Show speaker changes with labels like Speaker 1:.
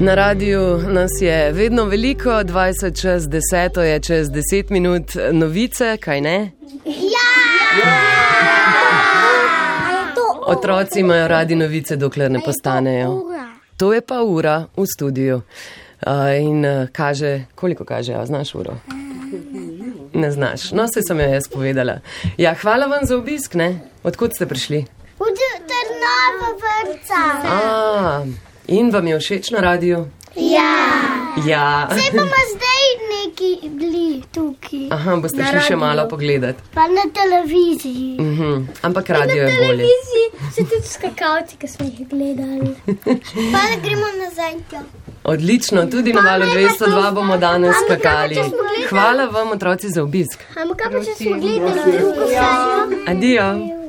Speaker 1: Na radiju nas je vedno veliko, 20 čez 10 je čez 10 minut novice, kaj ne? Otroci imajo radi novice, dokler ne postanejo. To je pa ura v studiu. Uh, in uh, kaže, koliko kaže, a znaš uro? Ne znaš. No, se sem jo jaz povedala. Ja, hvala vam za obisk, ne? Odkud ste prišli?
Speaker 2: Od Trnava vrca.
Speaker 1: A, in vam je všeč na radiju?
Speaker 2: Ja.
Speaker 1: Ja.
Speaker 2: Zdaj bomo zdaj neki bili tukaj.
Speaker 1: Aha, boste šli še malo pogledati.
Speaker 2: Pa na televiziji.
Speaker 1: Mhm. Ampak radio je bolje.
Speaker 2: so tudi skakalci, ki smo jih gledali. Pa ne gremo nazaj. tja.
Speaker 1: Odlično, tudi na valu 202 bomo danes
Speaker 2: Ampak
Speaker 1: skakali.
Speaker 2: kako smo gledali?
Speaker 1: Hvala vam, otroci, za obisk.
Speaker 2: Ampak kaj pa če smo gledali drugo stanje?
Speaker 1: Adijo.